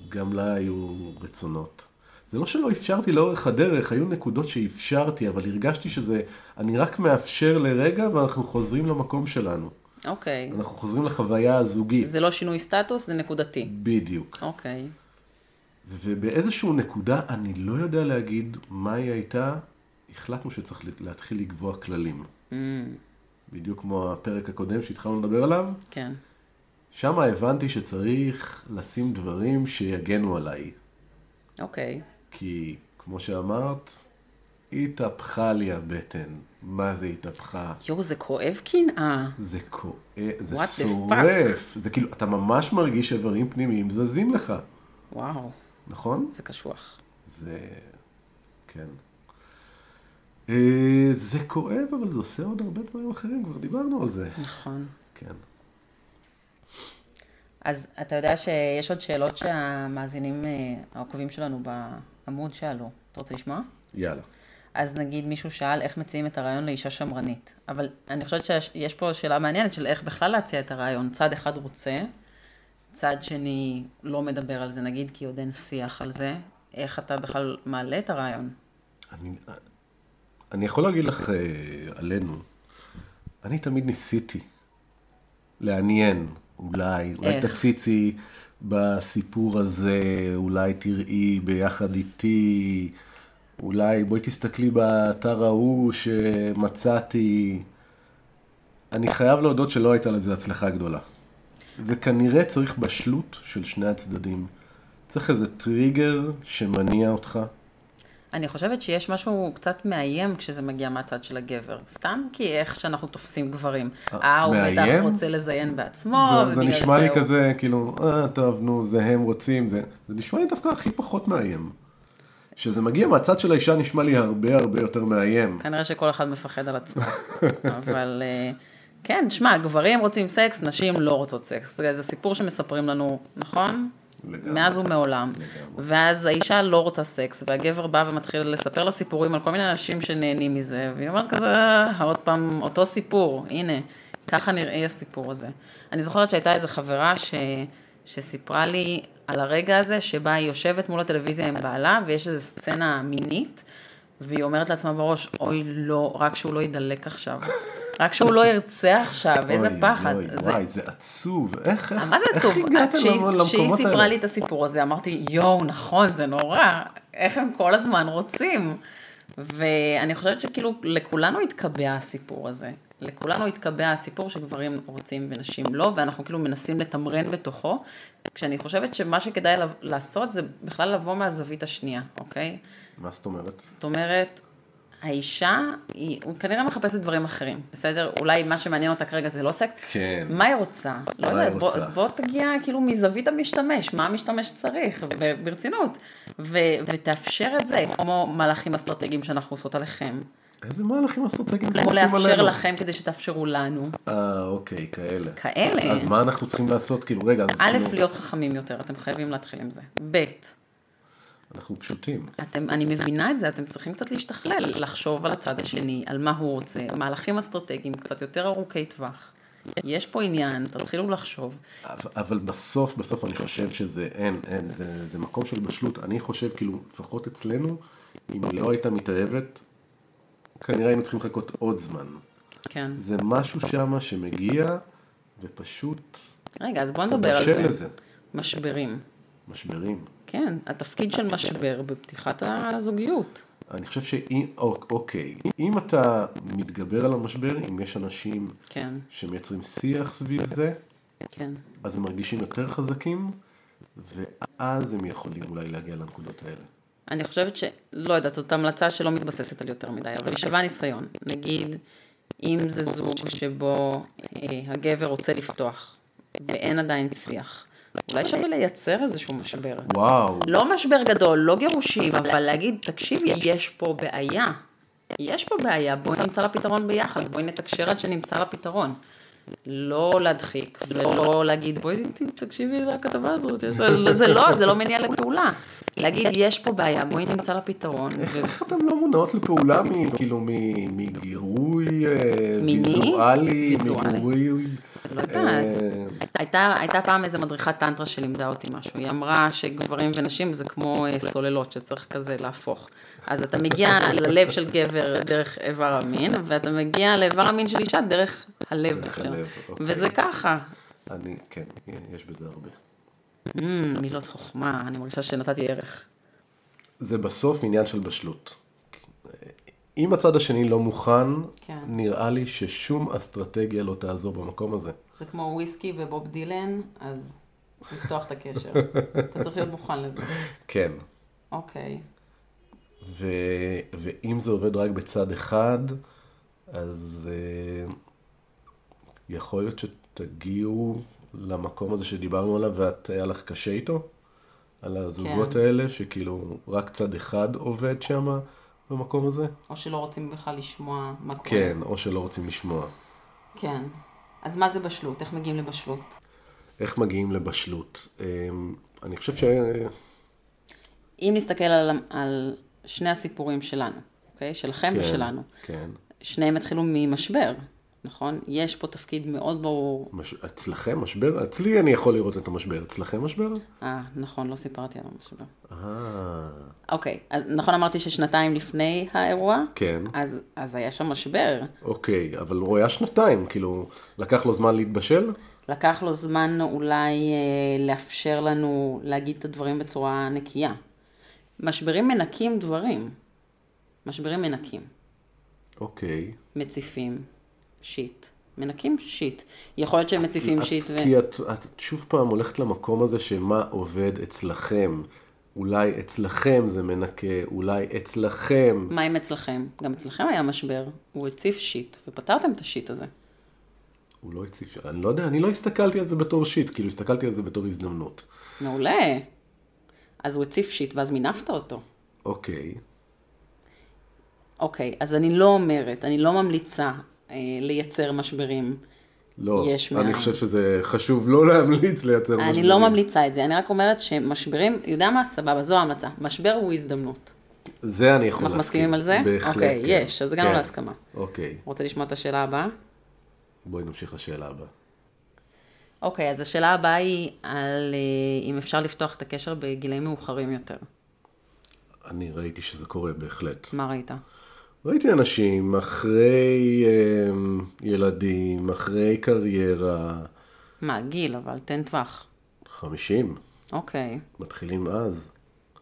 גם לה היו רצונות. זה לא שלא אפשרתי לאורך הדרך, היו נקודות שאפשרתי, אבל הרגשתי שזה, אני רק מאפשר לרגע ואנחנו חוזרים למקום שלנו.
אוקיי.
אנחנו חוזרים לחוויה הזוגית.
זה לא שינוי סטטוס, זה נקודתי.
בדיוק.
אוקיי.
ובאיזשהו נקודה, אני לא יודע להגיד מה היא הייתה, החלטנו שצריך להתחיל לקבוע כללים.
Mm.
בדיוק כמו הפרק הקודם שהתחלנו לדבר עליו,
כן.
שם הבנתי שצריך לשים דברים שיגנו עליי.
אוקיי.
כי כמו שאמרת, התהפכה לי הבטן. מה זה התהפכה?
יואו, זה כואב קנאה.
זה כואב, זה
What the
שורף. זה כאילו, אתה ממש מרגיש איברים פנימיים זזים לך,
וואו,
נכון?
זה קשוח.
זה... כן. אה, זה כואב, אבל זה עושה עוד הרבה דברים אחרים, כבר דיברנו על זה.
נכון.
כן.
אז אתה יודע שיש עוד שאלות שהמאזינים, אה, העוקבים שלנו בעמוד שאלו. אתה רוצה לשמוע?
יאללה.
אז נגיד מישהו שאל איך מציעים את הרעיון לאישה שמרנית. אבל אני חושבת שיש פה שאלה מעניינת של איך בכלל להציע את הרעיון. צד אחד רוצה, צד שני לא מדבר על זה, נגיד, כי עוד אין שיח על זה. איך אתה בכלל מעלה את הרעיון?
אני, אני יכול להגיד לך אה, עלינו, אני תמיד ניסיתי לעניין, אולי, אולי
איך?
תציצי בסיפור הזה, אולי תראי ביחד איתי, אולי בואי תסתכלי באתר ההוא שמצאתי. אני חייב להודות שלא הייתה לזה הצלחה גדולה. זה כנראה צריך בשלות של שני הצדדים. צריך איזה טריגר שמניע אותך.
אני חושבת שיש משהו קצת מאיים כשזה מגיע מהצד של הגבר. סתם כי איך שאנחנו תופסים גברים. אה, הוא בטח
מאיים?
רוצה לזיין בעצמו,
זה, זה
ובגלל
נשמע לי
הוא-
כזה, כאילו, אה, טוב, נו, זה הם רוצים, זה... זה נשמע לי דווקא הכי פחות מאיים. כשזה מגיע מהצד של האישה, נשמע לי הרבה הרבה יותר מאיים.
כנראה שכל אחד מפחד על עצמו. אבל אה, כן, שמע, גברים רוצים סקס, נשים לא רוצות סקס. זה זה סיפור שמספרים לנו, נכון?
לגמרי.
מאז ומעולם.
לגמרי.
ואז האישה לא רוצה סקס, והגבר בא ומתחיל לספר לה סיפורים על כל מיני אנשים שנהנים מזה, והיא אומרת כזה, "אה, עוד פעם, אותו סיפור, הנה, ככה נראה הסיפור הזה. אני זוכרת שהייתה איזו חברה ש... שסיפרה לי על הרגע הזה שבה היא יושבת מול הטלוויזיה עם בעלה, ויש איזו סצנה מינית, והיא אומרת לעצמה בראש, אוי, לא, רק שהוא לא יידלק עכשיו. רק שהוא לא ירצה עכשיו, איזה
אוי,
פחד.
אוי,
זה- אה,
וואי, זה עצוב. איך, נכון. איך,
מה זה עצוב?
איך הגעת
כשהיא-
למ- למקומות האלה?
כשהיא סיפרה לי את הסיפור הזה, אמרתי, יואו, נכון, זה נורא, איך הם כל הזמן רוצים. ואני חושבת שכאילו, לכולנו התקבע הסיפור הזה. לכולנו התקבע הסיפור שגברים רוצים ונשים לא, ואנחנו כאילו מנסים לתמרן בתוכו, כשאני חושבת שמה שכדאי לב- לעשות זה בכלל לבוא מהזווית השנייה, אוקיי?
מה זאת אומרת?
זאת אומרת, האישה, היא הוא כנראה מחפשת דברים אחרים, בסדר? אולי מה שמעניין אותה כרגע זה לא סקס.
כן.
מה היא רוצה? לא
מה
יודעת,
היא
בוא,
רוצה?
בוא תגיע כאילו מזווית המשתמש, מה המשתמש צריך, ו- ברצינות. ו- ותאפשר את זה, כמו מהלכים אסטרטגיים שאנחנו עושות עליכם.
איזה מהלכים אסטרטגיים
כמו
שעושים
לאפשר
עלינו?
לכם כדי שתאפשרו לנו.
אה, אוקיי, כאלה.
כאלה.
אז מה אנחנו צריכים לעשות? כאילו, רגע, אז
א',
כאילו,
להיות חכמים יותר, אתם חייבים להתחיל עם זה. ב', לא.
אנחנו פשוטים.
אתם, אני מבינה את זה, אתם צריכים קצת להשתכלל, לחשוב על הצד השני, על מה הוא רוצה, מהלכים אסטרטגיים קצת יותר ארוכי טווח. יש פה עניין, תתחילו לחשוב.
אבל- אבל בסוף, בסוף אני חושב שזה אין, אין, זה, זה מקום של בשלות. אני חושב, כאילו, לפחות אצלנו, אם היא לא הייתה מתאהבת, כנראה היינו צריכים לחכות עוד זמן.
כן.
זה משהו שמה שמגיע, ופשוט
רגע, אז בואו נדבר על
מבשל
זה.
לזה.
משברים.
משברים.
כן, התפקיד של משבר בפתיחת הזוגיות.
אני חושב שאם, אוק- אוקיי, אם אתה מתגבר על המשבר, אם יש אנשים
כן,
שמייצרים שיח סביב זה,
כן.
אז הם מרגישים יותר חזקים, ואז הם יכולים אולי להגיע לנקודות האלה.
אני חושבת שלא יודעת, זאת המלצה שלא מתבססת על יותר מדי, אבל היא שווה ניסיון. נגיד, אם זה זוג שבו אה, הגבר רוצה לפתוח, ואין עדיין שיח, אולי שווה לייצר איזשהו משבר.
וואו.
לא משבר גדול, לא גירושים, אבל להגיד, תקשיב, יש פה בעיה. יש פה בעיה, בואי נמצא לה פתרון ביחד, בואי נתקשר עד שנמצא לה פתרון. לא להדחיק, ולא להגיד, בואי ת- תקשיבי לכתבה הזאת, יש... לה-" זה לא, זה לא מניע לפעולה. להגיד, יש פה בעיה, בואי נמצא לה פתרון. ו-
איך אתם לא מונעות לפעולה מ- כאילו, מ- מגירוי אה,
מיני?
ויזואלי,
ויזואלי.
מגירוי...
לא יודעת.
אה,
הייתה, הייתה פעם איזה מדריכת טנטרה שלימדה אותי משהו, היא אמרה שגברים ונשים זה כמו אה, סוללות שצריך כזה להפוך. אז אתה מגיע ללב של גבר דרך איבר המין, ואתה מגיע לאיבר המין של אישה דרך הלב.
דרך
שלה.
הלב, אוקיי.
וזה ככה.
אני, כן, יש בזה הרבה.
אמ, מילות חוכמה, אני מרגישה שנתתי ערך.
זה בסוף עניין של בשלות. אם הצד השני לא מוכן,
כן.
נראה לי ששום אסטרטגיה לא תעזור במקום הזה.
זה כמו וויסקי ובוב דילן, אז לפתוח את הקשר. אתה צריך להיות מוכן לזה.
כן.
אוקיי.
ו, ואם זה עובד רק בצד אחד, אז אה, יכול להיות שתגיעו למקום הזה שדיברנו עליו ואת, היה לך קשה איתו? על הזוגות
כן.
כן. האלה, שכאילו רק צד אחד עובד שם במקום הזה?
או שלא רוצים בכלל לשמוע מה קורה.
כן, או שלא רוצים לשמוע.
כן. אז מה זה בשלות? איך מגיעים לבשלות?
איך מגיעים לבשלות? אמ, אני חושב ש...
אם נסתכל על, על שני הסיפורים שלנו, אוקיי? שלכם כן. ושלנו.
כן.
שניהם התחילו ממשבר, נכון? יש פה תפקיד מאוד ברור.
מש... אצלכם משבר? אצלי אני יכול לראות את המשבר. אצלכם משבר?
אה, נכון, לא סיפרתי על המשבר.
אה,
אוקיי, אז נכון אמרתי ששנתיים לפני האירוע?
כן.
אז, אז היה שם משבר.
אוקיי, אבל הוא היה שנתיים, כאילו, לקח לו זמן להתבשל?
לקח לו זמן אולי אה, לאפשר לנו להגיד את הדברים בצורה נקייה. משברים מנקים דברים. משברים מנקים.
אוקיי.
מציפים שיט. מנקים שיט. יכול להיות שהם מציפים שיט
את,
ו...
כי את, את שוב פעם הולכת למקום הזה שמה עובד אצלכם. אולי אצלכם זה מנקה, אולי אצלכם.
מה עם אצלכם? גם אצלכם היה משבר. הוא הציף שיט, ופתרתם את השיט הזה.
הוא לא הציף, אני לא יודע, אני לא הסתכלתי על זה בתור שיט, כאילו הסתכלתי על זה בתור הזדמנות.
מעולה. אז הוא הציף שיט, ואז מינפת אותו.
אוקיי,
אוקיי, אז אני לא אומרת, אני לא ממליצה אה, לייצר משברים.
לא,
יש
אני
מאין.
חושב שזה חשוב לא להמליץ לייצר משברים.
אני לא ממליצה את זה, אני רק אומרת שמשברים, יודע מה? סבבה, זו ההמלצה. משבר הוא הזדמנות.
זה אני יכול להסכים.
אנחנו מסכימים על זה?
בהחלט,
אוקיי,
כן.
יש, אז הגענו
כן.
להסכמה.
אוקיי,
רוצה לשמוע את השאלה הבאה?
בואי נמשיך לשאלה הבאה.
אוקיי, אז השאלה הבאה היא על אה, אם אפשר לפתוח את הקשר בגילאים מאוחרים יותר.
אני ראיתי שזה קורה בהחלט.
מה ראית?
ראיתי אנשים אחרי אמ, ילדים, אחרי קריירה,
מה, גיל, אבל תן טווח.
50,
אוקיי,
מתחילים אז.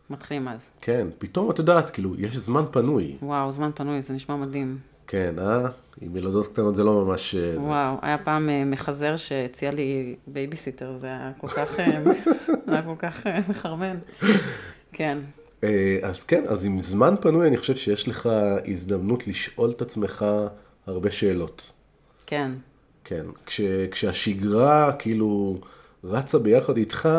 מתחילים אז.
כן, פתאום את יודעת, כאילו, יש זמן פנוי.
וואו, זמן פנוי, זה נשמע מדהים.
כן, אה? עם ילדות קטנות זה לא ממש... אה, זה.
וואו, היה פעם אה, מחזר שהציע לי בייביסיטר, זה היה כל כך, אה, זה היה כל כך אה, מחרמן. כן,
אה, אז כן, אז עם זמן פנוי אני חושב שיש לך הזדמנות לשאול את עצמך הרבה שאלות.
כן,
כן, כש, כשהשגרה כאילו רצה ביחד איתך,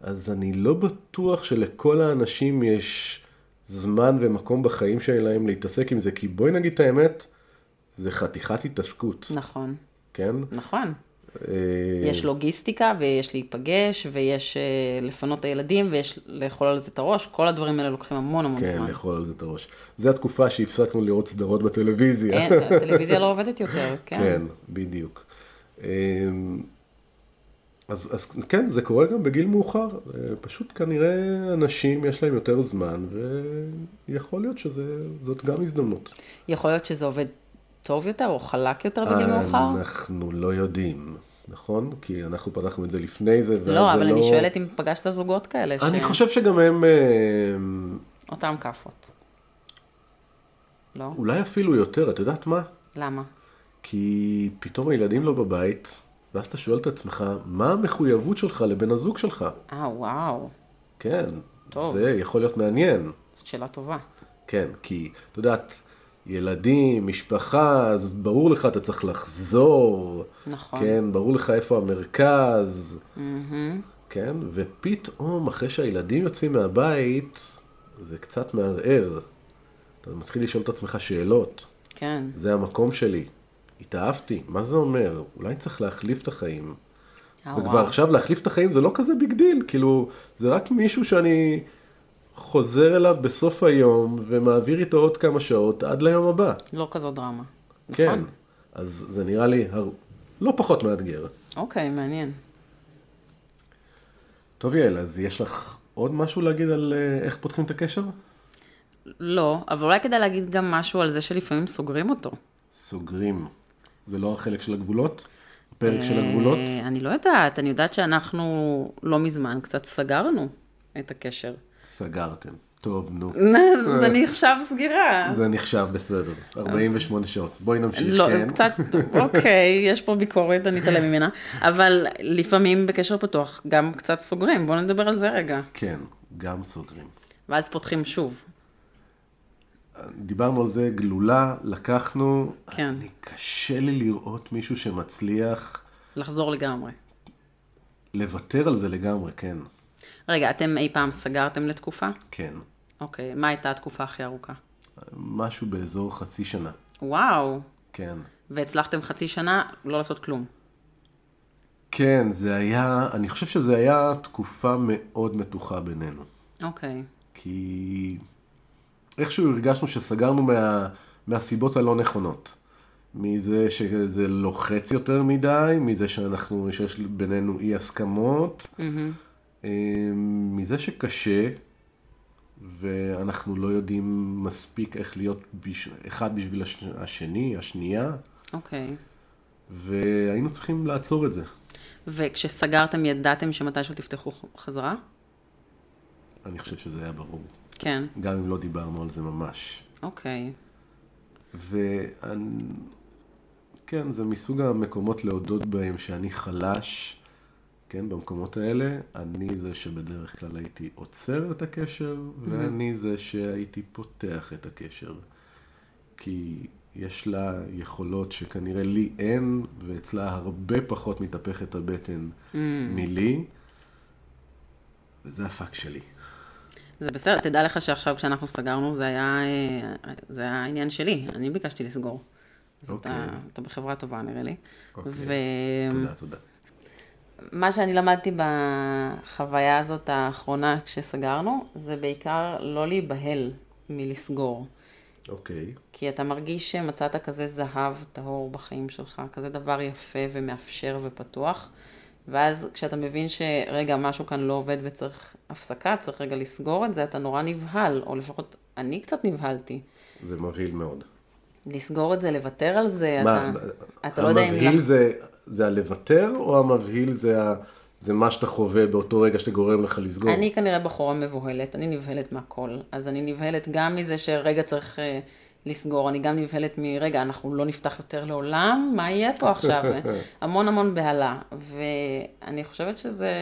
אז אני לא בטוח שלכל האנשים יש זמן ומקום בחיים שלהם להתעסק עם זה, כי בואי נגיד את האמת, זה חתיכת התעסקות,
נכון,
כן?
נכון.
אה,
יש לוגיסטיקה, ויש להיפגש, ויש אה, לפנות את הילדים, ויש לאכול על זה את הראש, כל הדברים האלה לוקחים המון המון
כן,
זמן.
לאכול על זה את הראש. זו התקופה שהפסקנו לראות סדרות בטלוויזיה.
אין, הטלוויזיה לא עובדת יותר, כן.
כן, בדיוק. אמ, אז, אז כן, זה קורה גם בגיל מאוחר, אה, פשוט כנראה אנשים יש להם יותר זמן, ויכול להיות שזאת גם הזדמנות.
יכול להיות שזה עובד טוב יותר, או חלק יותר בגיל
אה,
מאוחר?
אנחנו לא יודעים, נכון? כי אנחנו פתחנו את זה לפני זה, ואז
לא,
זה
אבל
לא...
אני שואלת אם פגשת זוגות כאלה,
אני
ש-
חושב שגם הם אמ,
אותם כאפות. לא?
אולי אפילו יותר, את יודעת מה?
למה?
כי פתאום הילדים לא בבית, ואז אתה שואל את עצמך, מה המחויבות שלך לבן הזוג שלך?
אה, וואו,
כן,
טוב.
זה יכול להיות מעניין.
זאת שאלה טובה.
כן, כי, את יודעת, ילדים, משפחה, אז ברור לך, אתה צריך לחזור.
נכון.
כן, ברור לך איפה המרכז. כן, ופתאום, אחרי שהילדים יוצאים מהבית, זה קצת מערער. אתה מתחיל לשאול את עצמך שאלות.
כן,
זה המקום שלי. התאהבתי, מה זה אומר? אולי צריך להחליף את החיים.
אה,
זה כבר
וואו.
עכשיו להחליף את החיים זה לא כזה ביג דיל, כאילו, זה רק מישהו שאני חוזר אליו בסוף היום ומעביר איתו עוד כמה שעות עד ליום הבא.
לא כזו דרמה.
כן.
נכון.
אז זה נראה לי הר... לא פחות מאתגר.
אוקיי, מעניין.
טוב יעל, אז יש לך עוד משהו להגיד על אה, איך פותחים את הקשר?
לא, אבל אולי כדאי להגיד גם משהו על זה שלפעמים סוגרים אותו.
סוגרים. זה לא החלק של הגבולות? הפרק של הגבולות?
אה, אני לא יודעת, אני יודעת שאנחנו לא מזמן קצת סגרנו את הקשר.
סגרתם. טוב, נו.
זה נחשב סגירה.
זה נחשב בסדר. 48 שעות. בואי נמשיך,
אה. לא,
כן?
אז קצת, אוקיי, יש פה ביקורת, אני אתעלם ממנה, אבל לפעמים בקשר פתוח גם קצת סוגרים, בואו נדבר על זה רגע.
כן, גם סוגרים.
ואז פותחים שוב.
דיברנו על זה, גלולה, לקחנו.
כן.
אני, קשה לי לראות מישהו שמצליח
לחזור לגמרי.
לוותר על זה לגמרי, כן.
רגע, אתם אי פעם סגרתם לתקופה?
כן.
אוקיי, מה הייתה התקופה הכי ארוכה?
משהו באזור חצי שנה.
וואו,
כן.
והצלחתם חצי שנה לא לעשות כלום.
כן, זה היה, אני חושב שזה היה תקופה מאוד מתוחה בינינו.
אוקיי,
כי איכשהו הרגשנו שסגרנו מה, מהסיבות הלא נכונות. מזה שזה לוחץ יותר מדי, מזה שאנחנו, שיש בינינו אי הסכמות, אה, מזה שקשה, ואנחנו לא יודעים מספיק איך להיות בש... אחד בשביל הש... השני, השנייה,
אוקיי.
והיינו צריכים לעצור את זה.
וכשסגרתם ידעתם שמתישהו תפתחו ח- חזרה?
אני חושב שזה היה ברור,
כן,
גם אם לא דיברנו על זה ממש.
אוקיי.
וכן, כן, זה מסוג המקומות להודות בהם שאני חלש, כן, במקומות האלה. אני זה שבדרך כלל הייתי עוצר את הקשר, ואני זה שהייתי פותח את הקשר. כי יש לה יכולות שכנראה לי אין, ואצלה הרבה פחות מתהפכת הבטן מלי, וזה הפאק שלי.
זה בסדר, תדע לך שעכשיו כשאנחנו סגרנו זה היה, אה, זה היה עניין שלי, אני ביקשתי לסגור. אז אתה,
אוקיי.
אתה בחברה טובה נראה לי.
אוקיי.
ו...
תודה, תודה.
מה שאני למדתי בחוויה הזאת האחרונה כשסגרנו, זה בעיקר לא להיבהל מלסגור.
אוקיי,
כי אתה מרגיש שמצאת כזה זהב טהור בחיים שלך, כזה דבר יפה ומאפשר ופתוח. ואז כשאתה מבין שרגע, משהו כאן לא עובד וצריך הפסקה, צריך רגע לסגור את זה, אתה נורא נבהל, או לפחות אני קצת נבהלתי.
זה מבהיל מאוד.
לסגור את זה, לוותר על זה,
מה,
אתה, אתה לא יודע אם...
המבהיל זה, זה הלוותר, או המבהיל זה, ה, זה מה שאתה חווה באותו רגע שאתה גורם לך לסגור?
אני כנראה בחורה מבוהלת, אני נבהלת מהכל. אז אני נבהלת גם מזה שרגע צריך אה, לסגור, אני גם נבהלת מרגע, אנחנו לא נפתח יותר לעולם, מה יהיה פה עכשיו? המון המון בהלה. ואני חושבת שזה,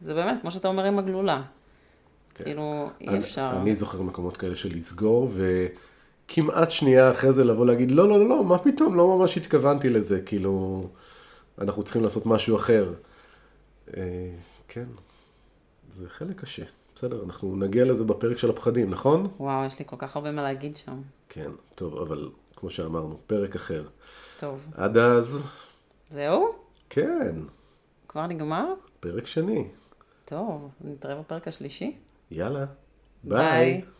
זה באמת, כמו שאתה אומר עם הגלולה.
כן.
כאילו, אי
אני-
אפשר.
אני זוכר מקומות כאלה של לסגור, וכמעט שנייה אחרי זה לבוא להגיד, לא, לא, לא, לא, מה פתאום, לא ממש התכוונתי לזה, כאילו, אנחנו צריכים לעשות משהו אחר. אה, כן, זה חלק קשה. בסדר, אנחנו נגיע לזה בפרק של הפחדים, נכון?
וואו, יש לי כל כך הרבה מה להגיד שם.
כן, טוב, אבל כמו שאמרנו, פרק אחר.
טוב,
עד אז,
זהו?
כן,
כבר נגמר?
פרק שני.
טוב, נתראה בפרק השלישי.
יאללה, ביי.
ביי.
ביי.